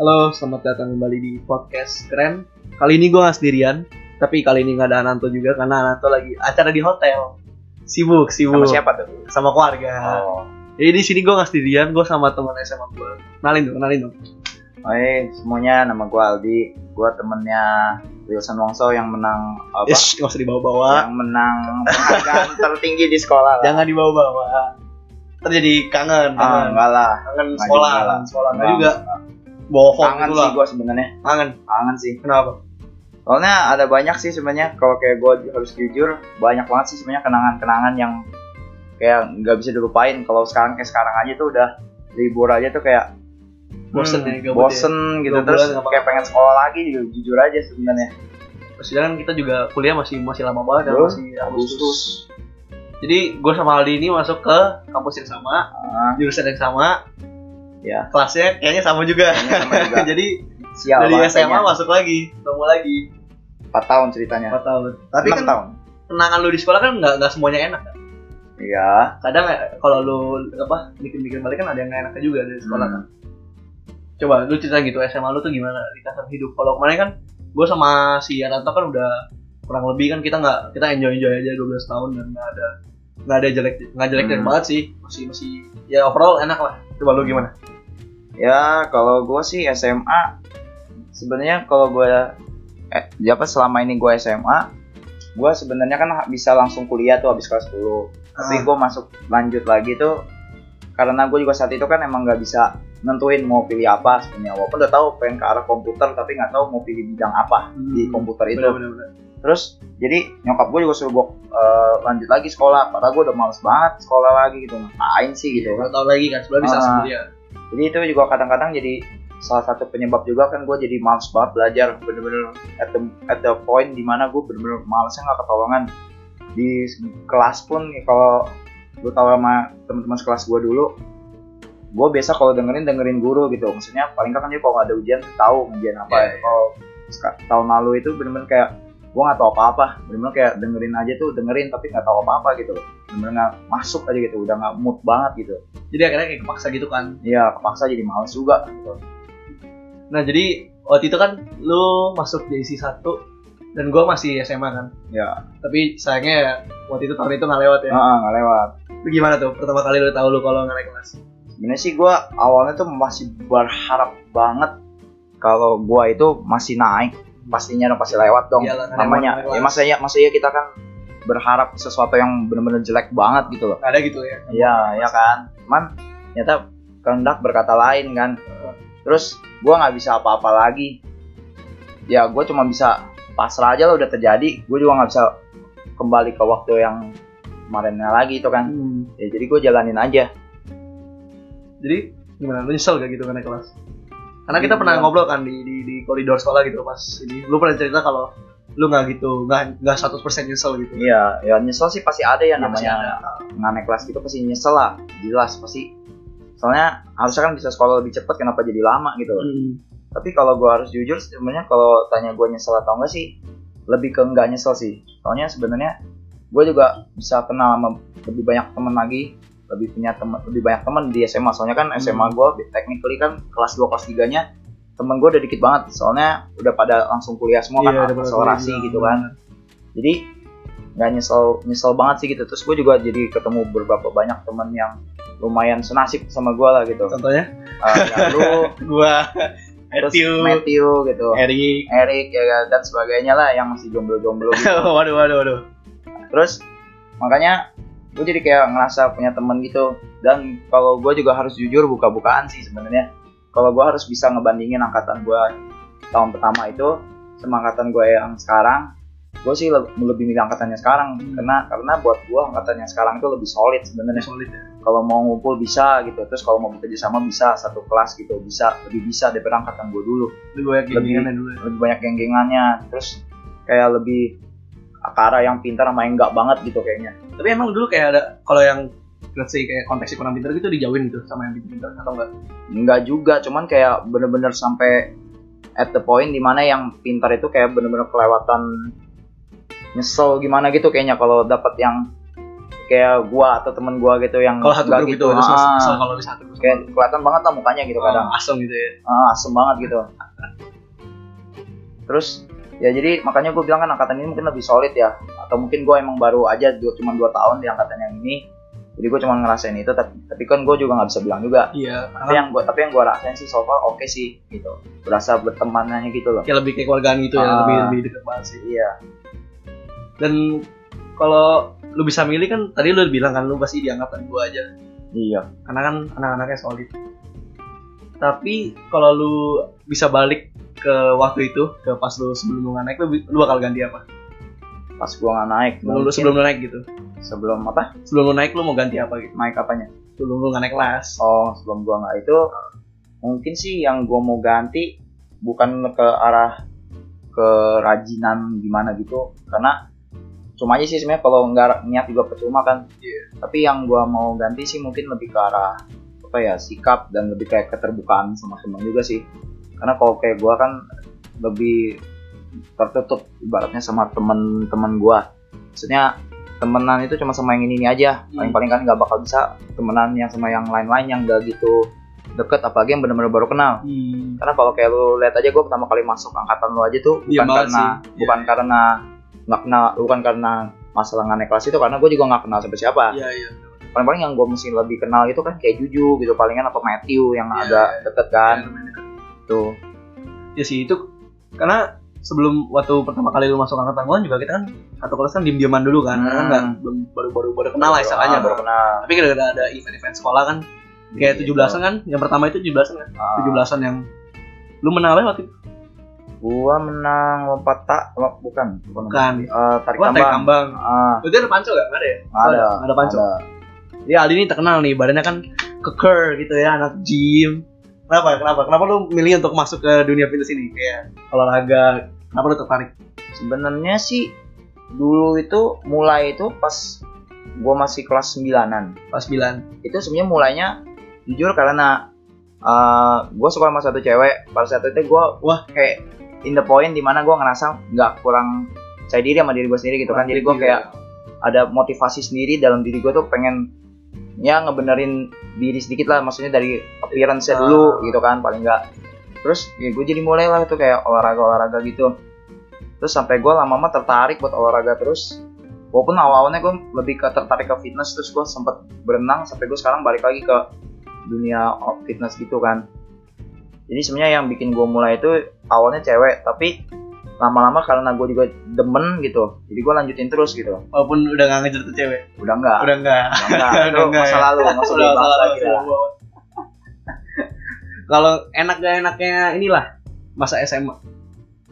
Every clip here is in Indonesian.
Halo, selamat datang kembali di podcast keren. Kali ini gue nggak sendirian, tapi kali ini nggak ada Ananto juga karena Ananto lagi acara di hotel. Sibuk, sibuk. Sama siapa tuh? Sama keluarga. Oh, Jadi di sini gue nggak sendirian, gue sama teman SMA gue. Kenalin dong, kenalin dong. hai semuanya nama gue Aldi, gue temennya Wilson Wongso yang menang apa? Ya. Ish, nggak usah dibawa-bawa. Yang menang penghargaan tertinggi di sekolah lah. Jangan dibawa-bawa. Terjadi kangen, Ah, kangen, enggak lah, kangen nggak sekolah, juga lah. kangen sekolah. Nggak Nggak, juga bohong kangen gitu sih lah. gue sebenarnya, Kangen. kangen sih. Kenapa? Soalnya ada banyak sih sebenarnya kalau kayak gue harus jujur, banyak banget sih sebenarnya kenangan-kenangan yang kayak nggak bisa dilupain. Kalau sekarang kayak sekarang aja tuh udah libur aja tuh kayak Bosen hmm, ya, gabut bosen gitu Dua bulan terus nggak kayak pengen sekolah lagi ju- jujur aja sebenarnya. Sedangkan kita juga kuliah masih masih lama banget, kan? Belum, masih Agustus. Jadi gue sama Aldi ini masuk ke kampus yang sama, Ah, jurusan yang sama, Ya. kelasnya kayaknya sama juga. kayaknya sama juga. Jadi Sial dari banget SMA kayaknya. Ya. masuk lagi, ketemu lagi 4 tahun ceritanya. 4 tahun. Tapi Enam kan tahun. kenangan lu di sekolah kan nggak nggak semuanya enak kan. Iya. Kadang eh, kalau lu apa mikir-mikir balik kan ada yang nggak enaknya juga dari sekolah Hmm. kan. Coba lu cerita gitu SMA lu tuh gimana di kasar hidup. Kalau kemarin kan gue sama si Aranto kan udah kurang lebih kan kita nggak kita enjoy enjoy aja 12 tahun dan nggak ada nggak ada jelek nggak jelek jelek Hmm. banget sih masih masih ya overall enak lah coba lu gimana Ya, kalau gue sih SMA sebenarnya kalau gue eh ya apa selama ini gue SMA, gue sebenarnya kan ha- bisa langsung kuliah tuh habis kelas 10. Tapi Ah. gue masuk lanjut lagi tuh karena gue juga saat itu kan emang nggak bisa nentuin mau pilih apa sebenarnya walaupun udah tahu pengen ke arah komputer tapi nggak tahu mau pilih bidang Ah, apa hmm. di komputer itu Bener-bener. terus jadi nyokap gue juga suruh gue eh, lanjut lagi sekolah padahal gue udah males banget sekolah lagi gitu ngapain sih gitu Dua tahun lagi kan, sebelah bisa Ah. sendiri ya. jadi itu juga kadang-kadang jadi salah satu penyebab juga kan gue jadi males banget belajar bener-bener at the, at the point dimana gue bener-bener malesnya nggak ketolongan di se- kelas pun ya kalau gue tau sama teman-teman sekelas gue dulu gue biasa kalau dengerin dengerin guru gitu maksudnya paling nggak kan dia kalau nggak ada ujian tuh tahu ujian apa Iya, ya. kalau seka- tahun lalu itu bener-bener kayak gue nggak tahu apa-apa bener-bener kayak dengerin aja tuh dengerin tapi nggak tahu apa-apa gitu loh bener-bener nggak masuk aja gitu udah nggak mood banget gitu Jadi akhirnya kayak kepaksa gitu kan. ya kepaksa jadi males juga gitu Nah jadi waktu itu kan lu masuk JC 1 dan gua masih SMA kan. Ya. Tapi sayangnya ya, waktu itu tahun itu nggak lewat ya. Ah, nggak lewat. Lu gimana tuh pertama kali lu tahu lu kalau nggak naik kelas? Sebenarnya sih gue awalnya tuh masih berharap banget kalau gua itu masih naik, pastinya dong pasti lewat dong. Iyalah, nggak ada yang Namanya, mau naik ya kelas. masa ya, masa ya kita kan berharap sesuatu yang bener-bener jelek banget gitu loh. Nggak ada gitu ya. Iya, ya kan. Cuman ternyata kehendak berkata lain kan. Terus gua nggak bisa apa-apa lagi. Ya gue cuma bisa pasrah aja lah udah terjadi. Gue juga nggak bisa kembali ke waktu yang kemarinnya lagi itu kan. Ya jadi gue jalanin aja. Jadi gimana? Lu nyesel gak gitu nggak naik kelas? Karena kita Iya. pernah ngobrol kan di, di, di koridor sekolah gitu pas ini. Lu pernah cerita kalau lu nggak gitu, nggak nggak 100% nyesel gitu. Iya, ya nyesel sih pasti ada ya namanya Iya, pasti nggak naik kelas gitu pasti nyesel lah, jelas pasti. Soalnya harusnya kan bisa sekolah lebih cepat, kenapa jadi lama gitu? ada. Mm. Tapi kalau gue harus jujur, sebenarnya kalau tanya gue nyesel atau enggak sih, lebih ke enggak nyesel sih. Soalnya sebenarnya gue juga bisa kenal sama lebih banyak teman lagi, lebih punya teman, lebih banyak teman di SMA. Soalnya kan Hmm. SMA gue, technically kan kelas 2 kelas 3 nya teman gue udah dikit banget. Soalnya udah pada langsung kuliah semua Iya, udah kan, pada akselerasi kuliah. gitu kan jadi nggak nyesel nyesel banget sih gitu terus gue juga jadi ketemu beberapa banyak teman yang lumayan senasib sama gue lah gitu Contohnya Eh, ya lu gua terus Matthew, Matthew gitu Eric. Eric ya kan, dan sebagainya lah yang masih jomblo-jomblo gitu. waduh waduh waduh. terus makanya gue jadi kayak ngerasa punya temen gitu dan kalau gue juga harus jujur buka-bukaan sih sebenarnya kalau gue harus bisa ngebandingin angkatan gue tahun pertama itu sama angkatan gue yang sekarang gue sih le- lebih milih angkatannya sekarang Hmm. karena karena buat gue angkatannya sekarang itu lebih solid Ini sebenarnya solid ya. kalau mau ngumpul bisa gitu terus kalau mau bekerja sama bisa satu kelas gitu bisa lebih bisa daripada angkatan gue dulu Lu gue yakin Lebih- gimana dulu ya. lebih banyak genggengannya terus kayak lebih ke arah yang pintar sama yang enggak banget gitu kayaknya Tapi emang dulu kayak ada kalau yang let's say kayak konteksnya kurang pintar gitu dijauhin gitu sama yang pintar atau enggak? Enggak juga, cuman kayak bener-bener sampai at the point dimana yang pintar itu kayak bener-bener kelewatan nyesel gimana gitu kayaknya kalau dapat yang kayak gua atau temen gua gitu yang Kalau satu nggak grup itu gitu, ada ah, sama sama kalau di satu grup sama kayak kelihatan banget lah mukanya gitu kadang Oh, asem gitu ya. ah, asem banget gitu terus ya jadi makanya gue bilang kan angkatan ini mungkin lebih solid ya atau mungkin gue emang baru aja dua, cuma dua tahun di angkatan yang ini jadi gue cuma ngerasain itu tapi, tapi kan gue juga nggak bisa bilang juga Iya, tapi karena yang gue tapi yang gue rasain sih so far oke sih gitu berasa bertemanannya gitu loh kayak lebih kayak keluargaan gitu ya, Ah. lebih lebih dekat banget sih. iya Dan kalau lu bisa milih kan tadi lu bilang kan lu pasti di angkatan gua aja. iya karena kan anak-anaknya solid. Tapi kalau lu bisa balik ke waktu itu, ke pas lu sebelum lu nggak naik, lu, lu bakal ganti apa? pas gue nggak naik Sebelum lu mungkin sebelum lu naik gitu. sebelum apa Sebelum lu naik lu mau ganti apa gitu? naik apanya Sebelum lu nggak naik kelas. oh sebelum gue nggak itu mungkin sih yang gue mau ganti bukan ke arah kerajinan gimana gitu karena cuma aja sih sebenarnya kalau nggak niat juga percuma kan tapi yang gue mau ganti sih mungkin lebih ke arah apa ya sikap dan lebih kayak keterbukaan sama teman juga sih karena kalau kayak gue kan lebih tertutup ibaratnya sama temen-temen gue maksudnya temenan itu cuma sama yang ini ini aja Hmm. paling-paling kan nggak bakal bisa temenan yang sama yang lain-lain yang gak gitu deket apalagi yang bener-bener baru kenal Hmm. karena kalau kayak lu lihat aja gue pertama kali masuk angkatan lu aja tuh bukan Iya banget sih. karena Iya, bukan karena nggak kenal bukan karena masalah nggak naik kelas itu karena gue juga nggak kenal siapa siapa Iya iya. paling-paling yang gue mesti lebih kenal itu kan kayak Juju gitu palingan apa Matthew yang Iya, agak deket kan tuh Ya sih itu karena sebelum waktu pertama kali lu masuk angkatan gua juga kita kan satu kelas kan diem-dieman dulu kan, karena kan Hmm. nggak belum baru-baru baru kenal lah istilahnya. baru kenal Tapi gara-gara ada event-event sekolah kan, kayak 17-an kan, yang pertama itu 17-an kan, Ah. 17-an yang lu menang apa ya waktu itu? gua menang lompat tak lom- bukan bukan Bukan. Eh, tarik Wah, tarik tambang kambang. Ah, Berarti ada panco gak? Nggak ada ya? ada Nggak ada panco. Jadi Ya, Aldi ini terkenal nih, badannya kan keker gitu ya, anak gym. Kenapa? Kenapa? Kenapa lu milih untuk masuk ke dunia fitness ini? Kayak olahraga, kenapa lu tertarik? sebenarnya sih dulu itu mulai itu pas gua masih kelas 9an Pas 9. itu sebenarnya mulainya jujur karena uh, gue suka sama satu cewek pada saat itu gue wah kayak in the point dimana gue ngerasa nggak kurang saya diri sama diri gue sendiri gitu kan jadi gue kayak ada motivasi sendiri dalam diri gue tuh pengen ya ngebenerin diri sedikit lah maksudnya dari appearance nya dulu gitu kan paling enggak terus ya gue jadi mulai lah tuh kayak olahraga olahraga gitu terus sampai gue lama-lama tertarik buat olahraga terus walaupun awal-awalnya gue lebih ke tertarik ke fitness terus gue sempet berenang sampai gue sekarang balik lagi ke dunia fitness gitu kan jadi sebenarnya yang bikin gue mulai itu awalnya cewek tapi lama-lama karena gue juga demen gitu jadi gue lanjutin terus gitu Walaupun udah gak ngejar tuh cewek. udah enggak Udah enggak. Enggak, itu Udah enggak masa ya? lalu, masa Udah lalu udah, bahas udah, lagi udah, lah. udah. Kalau enak gak enaknya inilah masa SMA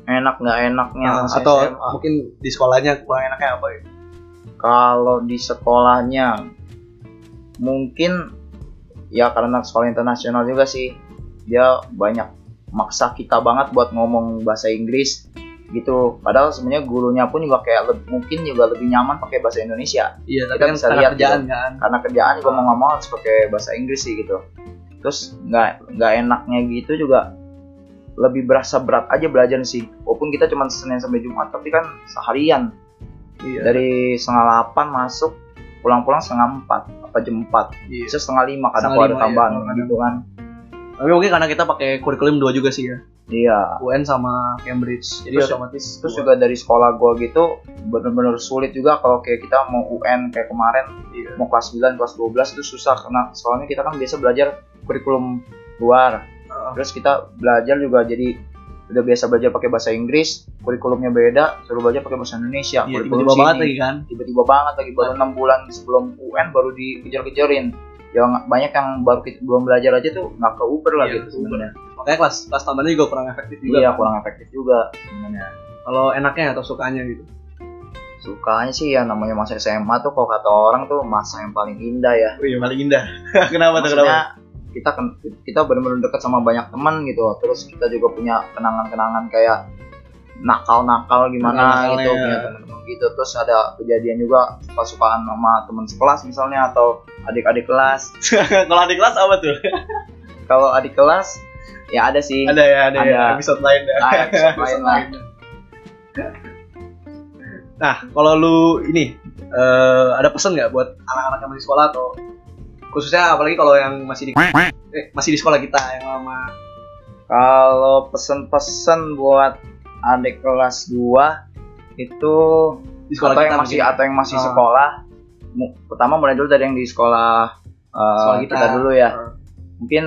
Enak nggak enaknya Nah, Ah, masa atau SMA? mungkin di sekolahnya kurang enaknya apa ya? Kalau di sekolahnya mungkin ya karena sekolah internasional juga sih dia banyak maksa kita banget buat ngomong bahasa Inggris gitu. Padahal sebenarnya gurunya pun juga kayak le- mungkin juga lebih nyaman pakai bahasa Indonesia. Iya, tapi Kita kan bisa karena lihat gitu. kerjaan kan. karena kerjaan gue mau ngomong harus pakai bahasa Inggris sih gitu terus nggak nggak enaknya gitu juga lebih berasa berat aja belajar sih walaupun kita cuma senin sampai jumat tapi kan seharian Iya. dari setengah delapan masuk pulang-pulang setengah empat apa jam empat Iya. bisa setengah lima Setengah karena kalau ada lima, ya, tambahan kalau ada. gitu kan Tapi mungkin karena kita pakai kurikulum dua juga sih ya. iya UN sama Cambridge. Jadi Terus- ya- otomatis terus juga dari sekolah gue gitu bener-bener sulit juga kalau kayak kita mau UN kayak kemarin Iya. mau kelas 9 kelas 12 itu susah karena soalnya kita kan biasa belajar kurikulum luar Heeh. terus kita belajar juga jadi udah biasa belajar pakai bahasa Inggris kurikulumnya beda suruh belajar pakai bahasa Indonesia Iya, kurikulum tiba-tiba sini, banget lagi kan. tiba-tiba banget lagi baru enam bulan sebelum UN baru dikejar-kejarin yang banyak yang baru ke- belum belajar aja tuh nggak ke Uber lah Iya, gitu ke Uber. sebenarnya Makanya kelas kelas tambahannya juga kurang efektif juga. iya kurang efektif juga sebenarnya Kalau enaknya atau sukanya gitu. sukanya sih ya namanya masa SMA tuh kalau kata orang tuh masa yang paling indah ya Oh iya, paling indah. kenapa tuh kenapa? maksudnya kita kan kita benar-benar dekat sama banyak teman gitu terus kita juga punya kenangan-kenangan kayak nakal-nakal gimana Nakal-nakalnya. gitu punya teman-teman gitu terus ada kejadian juga suka-sukaan sama teman sekelas misalnya atau adik-adik kelas Kalau di kelas apa Iya. tuh? kalau adik kelas ya ada sih Ada ya, ada, ya. Ada. Episode lain ya. Ada episode lain lah. Nah, kalau lu ini eh, ada pesan nggak buat anak-anak yang masih sekolah atau khususnya apalagi kalau yang masih di eh, masih di sekolah kita yang lama Kalau pesen-pesen buat adik kelas 2 itu di sekolah atau kita yang masih mungkin. atau yang masih Ah. sekolah, mu- pertama mulai dulu dari yang di sekolah, eh, Sekolah kita. kita. dulu ya. Ah. Mungkin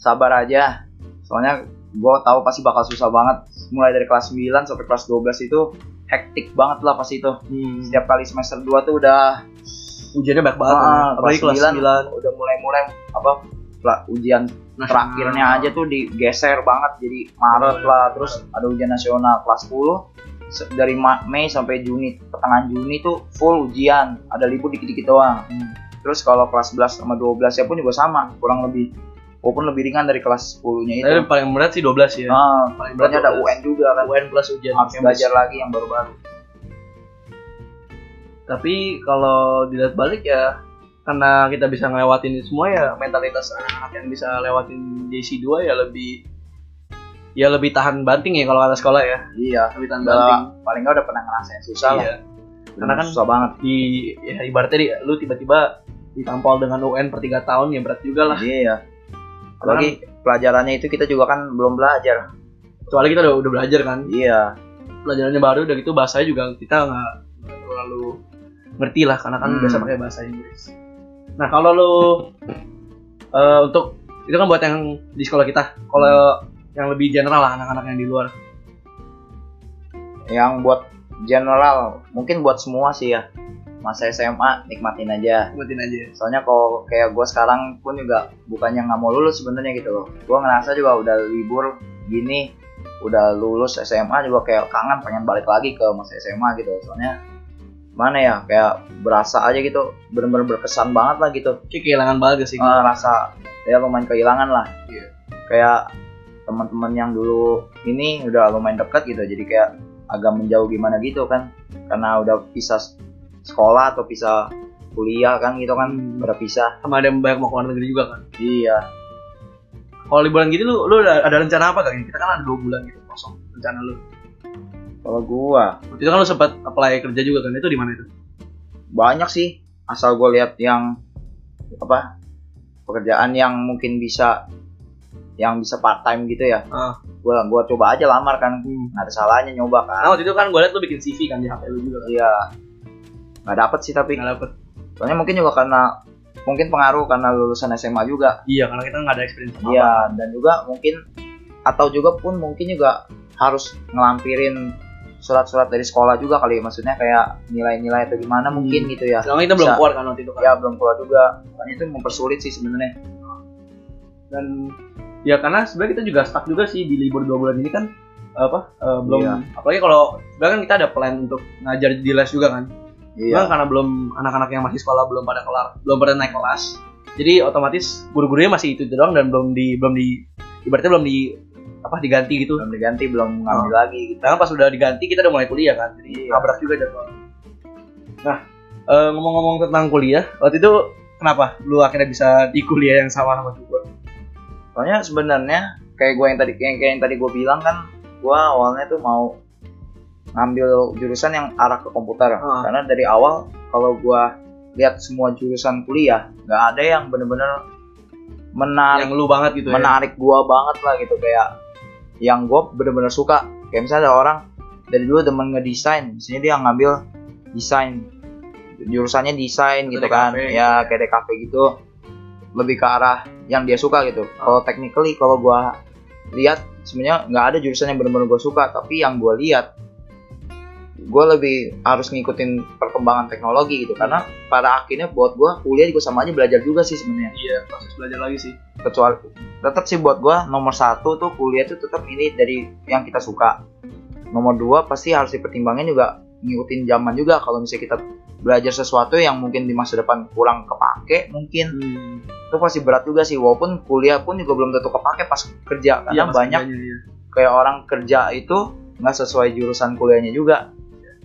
sabar aja, soalnya gue tahu pasti bakal susah banget. Mulai dari kelas 9 sampai kelas 12 itu hektik banget lah pasti itu. Hmm. Setiap kali semester 2 tuh udah ujiannya banyak banget Ah, kan. kelas apalagi kelas sembilan. 9 udah mulai-mulai apa pla- ujian Nah, terakhirnya aja tuh digeser banget jadi Maret lah terus ada ujian nasional kelas 10 se- dari Ma- Mei sampai Juni pertengahan Juni tuh full ujian ada libur dikit-dikit doang Hmm. terus kalau kelas 11 sama 12 ya pun juga sama kurang lebih walaupun lebih ringan dari kelas 10 nya itu Tapi Nah, paling berat sih 12 ya. nah, paling berat sebenarnya ada 12. UN juga kan UN plus ujian harus kampus. belajar lagi yang baru-baru Tapi kalau dilihat balik ya karena kita bisa ngelewatin itu semua ya mentalitas anak-anak yang bisa lewatin JC 2 ya lebih ya lebih tahan banting ya kalau kata sekolah ya iya lebih tahan banting udah, paling nggak udah pernah ngerasain susah lah Iya. Karena kan- susah banget di ya, ibaratnya di- lu tiba-tiba ditampol dengan UN per 3 tahun ya berat juga lah kan- iya lagi pelajarannya itu kita juga kan belum belajar kecuali kita udah, udah belajar kan iya pelajarannya baru udah gitu bahasanya juga kita nggak nggak terlalu ngerti lah karena kan Hmm. biasa pakai bahasa Inggris. Nah kalau lo eh, untuk itu kan buat yang di sekolah kita, kalau yang lebih general lah anak-anak yang di luar. yang buat general mungkin buat semua sih ya masa SMA nikmatin aja Ikutin aja. soalnya kalau kayak gue sekarang pun juga bukannya nggak mau lulus sebenarnya gitu loh gue ngerasa juga udah libur gini udah lulus SMA juga kayak kangen pengen balik lagi ke masa SMA gitu soalnya mana ya kayak berasa aja gitu bener-bener berkesan banget lah gitu Kayak kehilangan banget sih. Eh, rasa ya lumayan kehilangan lah Iya. kayak teman-teman yang dulu ini udah lumayan dekat gitu jadi kayak agak menjauh gimana gitu kan karena udah pisah sekolah atau pisah kuliah kan gitu kan Hmm. udah pisah Sama ada yang banyak mau ke luar negeri juga kan. iya Kalau liburan gini lu lu ada, ada rencana apa gak? Kita kan ada dua bulan gitu kosong rencana lu. kalau gua Waktu itu kan lu sempat apply kerja juga kan itu di mana itu? banyak sih asal gua lihat yang apa pekerjaan yang mungkin bisa yang bisa part time gitu ya Ah. gua gua coba aja lamar kan nggak ada salahnya nyoba kan Nah waktu itu kan gue liat lu bikin CV kan di HP lu juga. Kan? iya nggak dapet sih tapi Nggak dapet. soalnya mungkin juga karena mungkin pengaruh karena lulusan SMA juga Iya karena kita nggak ada experience apa. iya dan juga mungkin atau juga pun mungkin juga harus ngelampirin surat-surat dari sekolah juga kali ya. maksudnya kayak nilai-nilai atau gimana mungkin gitu ya Soalnya kita belum Bisa. keluar kan waktu itu kan. ya belum keluar juga makanya itu mempersulit sih sebenarnya dan ya karena sebenarnya kita juga stuck juga sih di libur dua bulan ini kan apa eh, belum Iya. apalagi kalau sebenarnya kan kita ada plan untuk ngajar di les juga kan Cuman iya karena belum anak-anak yang masih sekolah belum pada kelar belum pada naik kelas jadi otomatis guru-gurunya masih itu doang dan belum di belum di ibaratnya belum di apa diganti gitu belum diganti belum ngambil lagi gitu Sedangkan pas udah diganti kita udah mulai kuliah kan jadi Iya. nabrak juga jadwal nah eh, ngomong-ngomong tentang kuliah waktu itu kenapa lu akhirnya bisa di kuliah yang sama sama gue soalnya sebenarnya kayak gue yang tadi kayak, kayak yang tadi gue bilang kan gue awalnya tuh mau ngambil jurusan yang arah ke komputer Ah. karena dari awal kalau gue lihat semua jurusan kuliah nggak ada yang bener-bener menarik yang lu banget gitu ya menarik gue banget lah gitu kayak yang gue bener-bener suka kayak misalnya ada orang dari dulu demen ngedesain di sini dia ngambil desain jurusannya desain gitu Atau kan DKV. ya kayak DKV gitu lebih ke arah yang dia suka gitu kalau technically kalau gue lihat sebenarnya nggak ada jurusan yang bener-bener gue suka tapi yang gue lihat gue lebih harus ngikutin perkembangan teknologi gitu karena pada akhirnya buat gue kuliah juga sama aja belajar juga sih sebenarnya Iya, proses belajar lagi sih. kecuali tetap sih buat gua nomor satu tuh kuliah tuh tetap ini dari yang kita suka nomor dua pasti harus dipertimbangin juga ngikutin zaman juga kalau misalnya kita belajar sesuatu yang mungkin di masa depan kurang kepake mungkin Hmm, itu pasti berat juga sih walaupun kuliah pun juga belum tentu kepake pas kerja karena pas banyak kerjanya, iya. kayak orang kerja itu nggak sesuai jurusan kuliahnya juga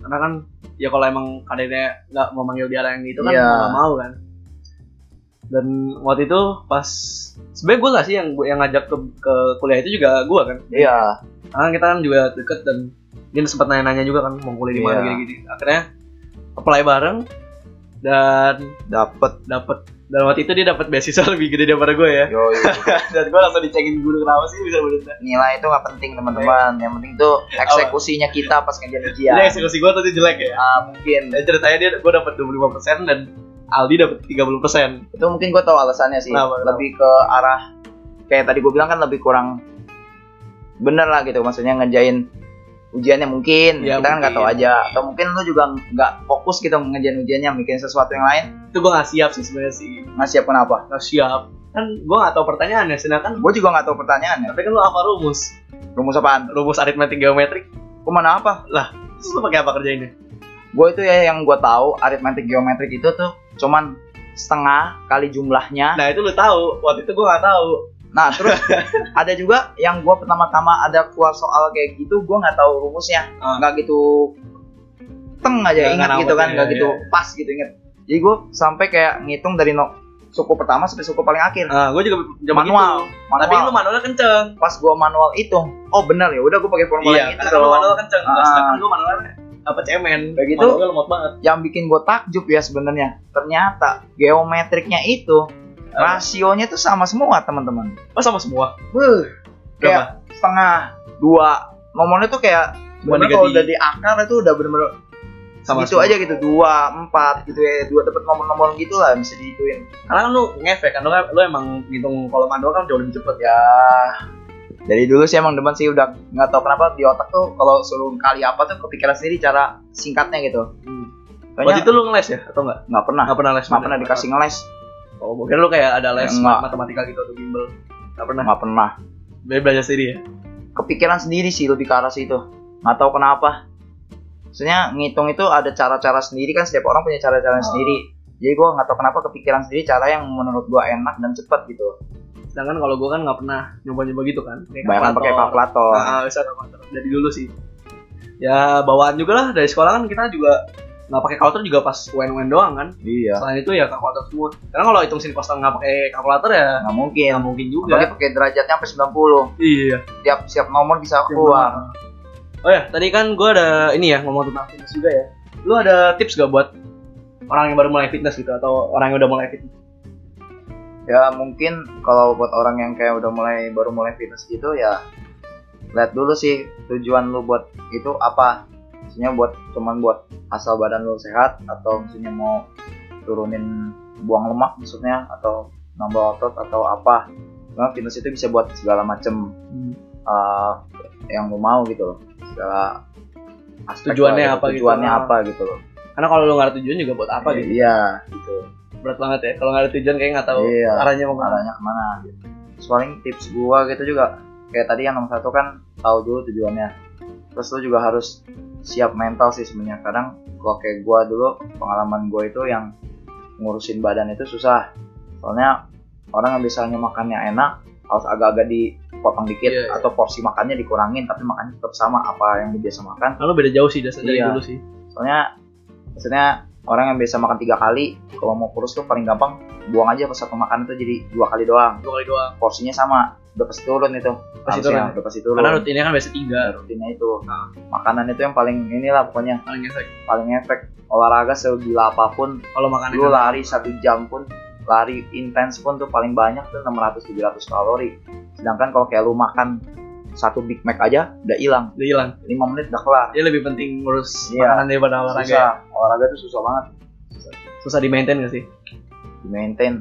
Karena kan ya kalau emang karirnya nggak mau manggil di arah yang itu kan Iya. nggak mau kan. Dan waktu itu pas sebenarnya gue lah sih yang yang ngajak ke, ke kuliah itu juga gue kan. iya Karena kita kan juga deket dan dia sempat nanya-nanya juga kan mau kuliah di mana Iya. gini-gini. Akhirnya apply bareng dan dapet dapat dalam waktu itu dia dapat beasiswa lebih gede daripada gue ya yo dan gue langsung dicengin guru kenapa sih bisa bener nilai itu nggak penting teman-teman yang penting tuh eksekusinya kita pas ngejar ujian jadi eksekusi gue tadi jelek ya Ah, mungkin dan ceritanya dia gue dapat 25% dan Aldi dapat 30% itu mungkin gue tahu alasannya sih Kenapa, kenapa? lebih ke arah kayak tadi gue bilang kan lebih kurang bener lah gitu maksudnya ngerjain ujiannya mungkin Ya, kita kan nggak tahu mungkin. aja atau mungkin lu juga nggak fokus gitu ngerjain ujiannya bikin sesuatu yang lain itu gue gak siap sih sebenarnya sih nggak siap kenapa gak siap kan gue gak tahu pertanyaannya sedangkan gue juga nggak tahu pertanyaannya tapi kan lu apa rumus rumus apaan rumus aritmetik geometrik gue mana apa terus lu pakai apa kerjainnya gue itu ya yang gue tahu aritmatik geometrik itu tuh cuman setengah kali jumlahnya nah itu lu tahu waktu itu gue gak tahu nah terus ada juga yang gue pertama-tama ada keluar soal kayak gitu gue nggak tahu rumusnya Ah. nggak gitu teng aja Nggak inget ngerawat gitu kan ya, nggak iya. gitu pas gitu inget jadi gue sampai kayak ngitung dari no, suku pertama sampai suku paling akhir nah, gue juga zaman manual, itu. manual tapi lu manualnya kenceng pas gue manual hitung oh bener ya udah gue pakai formula iya yang itu karena lu dong. manualnya kenceng nah, Ah. sedangkan gue manualnya apa cemen Kayak gitu. manualnya lemot banget yang bikin gue takjub ya sebenarnya ternyata geometriknya itu Apa? rasionya tuh sama semua teman-teman oh sama semua Wuh, berapa kayak setengah dua nomornya tuh kayak Bukan bener diganti. kalau udah di akar itu udah bener-bener Sama gitu semua. aja gitu dua empat gitu ya dua dapat nomor-nomor gitu lah bisa dihituin karena kan lu ngefek kan lu, lu emang ngitung kolom manual kan jauh lebih cepet ya ya dari dulu sih emang demen sih udah nggak tau kenapa di otak tuh kalau suruh kali apa tuh kepikiran sendiri cara singkatnya gitu waktu Kayaknya itu lu ngeles ya atau enggak nggak pernah nggak pernah les nggak pernah dikasih ngeles oh mungkin lu kayak ada les Nggak. matematika gitu atau bimbel nggak pernah nggak pernah Be- belajar sendiri ya kepikiran sendiri sih lebih ke arah situ nggak tahu kenapa maksudnya ngitung itu ada cara-cara sendiri kan setiap orang punya cara-cara Oh. sendiri jadi gue nggak tahu kenapa kepikiran sendiri cara yang menurut gue enak dan cepet gitu sedangkan kalau gue kan nggak pernah nyoba-nyoba gitu kan Kayak banyak pakai kalkulator Ah, bisa kalkulator dari dulu sih ya bawaan juga lah dari sekolah kan kita juga nggak pakai kalkulator juga pas UN-UN doang kan iya selain itu ya kalkulator semua karena kalau hitung sini kosan nggak pakai kalkulator ya nggak mungkin nggak mungkin juga apalagi pakai derajatnya sampai 90 iya tiap siap nomor bisa keluar oh ya tadi kan gue ada ini ya ngomong tentang fitness juga ya lu ada tips gak buat orang yang baru mulai fitness gitu atau orang yang udah mulai fitness ya mungkin kalau buat orang yang kayak udah mulai baru mulai fitness gitu ya lihat dulu sih tujuan lu buat itu apa maksudnya buat cuman buat asal badan lu sehat atau maksudnya mau turunin buang lemak maksudnya atau nambah otot atau apa nah fitness itu bisa buat segala macem Hmm. eh, yang lu mau gitu loh segala aspek Tujuannya lah, apa gitu. tujuannya apa gitu loh karena kalau lu nggak ada tujuan juga buat apa gitu iya gitu berat banget ya kalau nggak ada tujuan kayak nggak tahu Iya. arahnya mau kemana arahnya kemana gitu. Terus paling tips gua gitu juga kayak tadi yang nomor satu kan tahu dulu tujuannya terus lu juga harus siap mental sih sebenarnya kadang kalau kayak gua dulu pengalaman gua itu yang ngurusin badan itu susah soalnya orang yang biasanya makannya enak harus agak-agak dipotong dikit Iya, iya. atau porsi makannya dikurangin tapi makannya tetap sama apa yang dia biasa makan Nah, lu beda jauh sih dasar dari Iya. dulu sih soalnya maksudnya orang yang biasa makan tiga kali kalau mau kurus tuh paling gampang buang aja pas satu makan itu jadi dua kali doang dua kali doang porsinya sama udah pasti turun itu Pasti Harusnya, turun. udah pasti turun karena rutinnya kan biasa tiga Nah, rutinnya itu makanan itu yang paling inilah pokoknya paling efek paling efek olahraga segila apapun kalau kan makan lu lari satu jam pun lari intens pun tuh paling banyak tuh 600-700 kalori sedangkan kalau kayak lu makan satu Big Mac aja udah hilang udah hilang 5 menit udah kelar dia lebih penting ngurus Iya. makanan daripada olahraga susah ya. olahraga tuh susah banget susah di maintain gak sih di maintain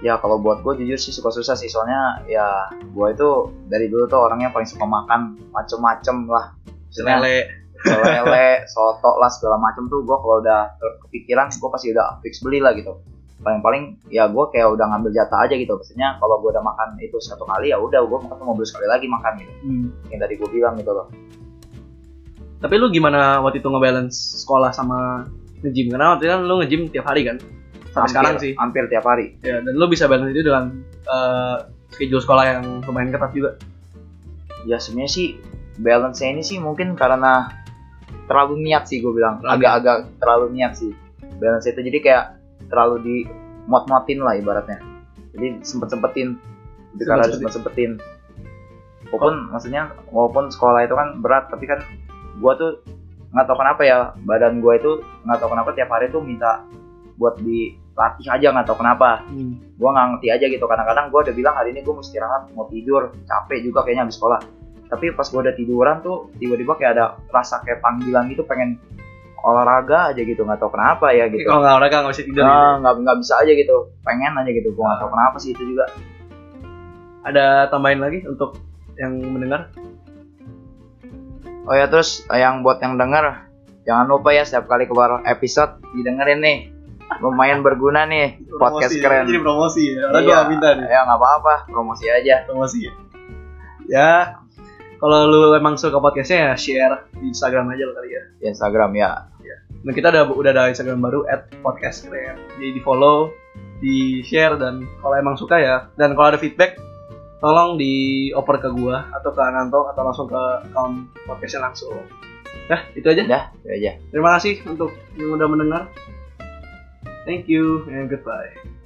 ya kalau buat gue jujur sih suka susah sih soalnya ya gue itu dari dulu tuh orangnya paling suka makan macem-macem lah Maksudnya- lele lele, soto lah segala macam tuh gue kalau udah ter- kepikiran gue pasti udah fix beli lah gitu paling-paling ya gue kayak udah ngambil jatah aja gitu maksudnya kalau gue udah makan itu satu kali ya udah gue makan tuh mau beli sekali lagi makan gitu yang tadi gue bilang gitu loh Hmm. tapi lu gimana waktu itu ngebalance sekolah sama nge-gym karena waktu itu kan lu nge-gym tiap hari kan sampai sekarang sih hampir tiap hari ya, dan lu bisa balance itu dengan eh, schedule sekolah yang lumayan ketat juga ya sebenarnya sih balance nya ini sih mungkin karena terlalu niat sih gue bilang Terlalu agak-agak terlalu niat sih balance itu jadi kayak terlalu di mot-motin lah ibaratnya jadi sempet-sempetin jadi karena harus sempet-sempetin walaupun maksudnya walaupun sekolah itu kan berat tapi kan gua tuh nggak tahu kenapa ya badan gue itu nggak tahu kenapa tiap hari tuh minta buat dilatih aja nggak tahu kenapa Hmm. gue nggak ngerti aja gitu kadang-kadang gue udah bilang hari ini gue mau istirahat mau tidur capek juga kayaknya habis sekolah tapi pas gue udah tiduran tuh tiba-tiba kayak ada rasa kayak panggilan gitu pengen olahraga aja gitu nggak tahu kenapa ya gitu Kalau nggak olahraga nggak bisa tidur. gitu. Nah, nggak nggak bisa aja gitu pengen aja gitu gue nggak Ah. tahu kenapa sih itu juga Ada tambahin lagi untuk yang mendengar. Oh ya terus eh, yang buat yang denger jangan lupa ya setiap kali keluar episode didengerin nih. Lumayan berguna nih podcast Promosi ya. keren. Jadi promosi ya. Orang Iya, gua minta nih. Ya nggak apa-apa, promosi aja. promosi ya. Ya, kalau lu emang suka podcastnya ya share di Instagram aja lo kali ya. Di Instagram ya. Nah, kita udah udah ada Instagram baru @podcastkeren. Jadi di follow, di share dan kalau emang suka ya dan kalau ada feedback tolong dioper ke gua atau ke Ananto atau langsung ke account podcastnya langsung. Nah, itu aja. Udah, itu aja. Terima kasih untuk yang udah mendengar. Thank you and goodbye.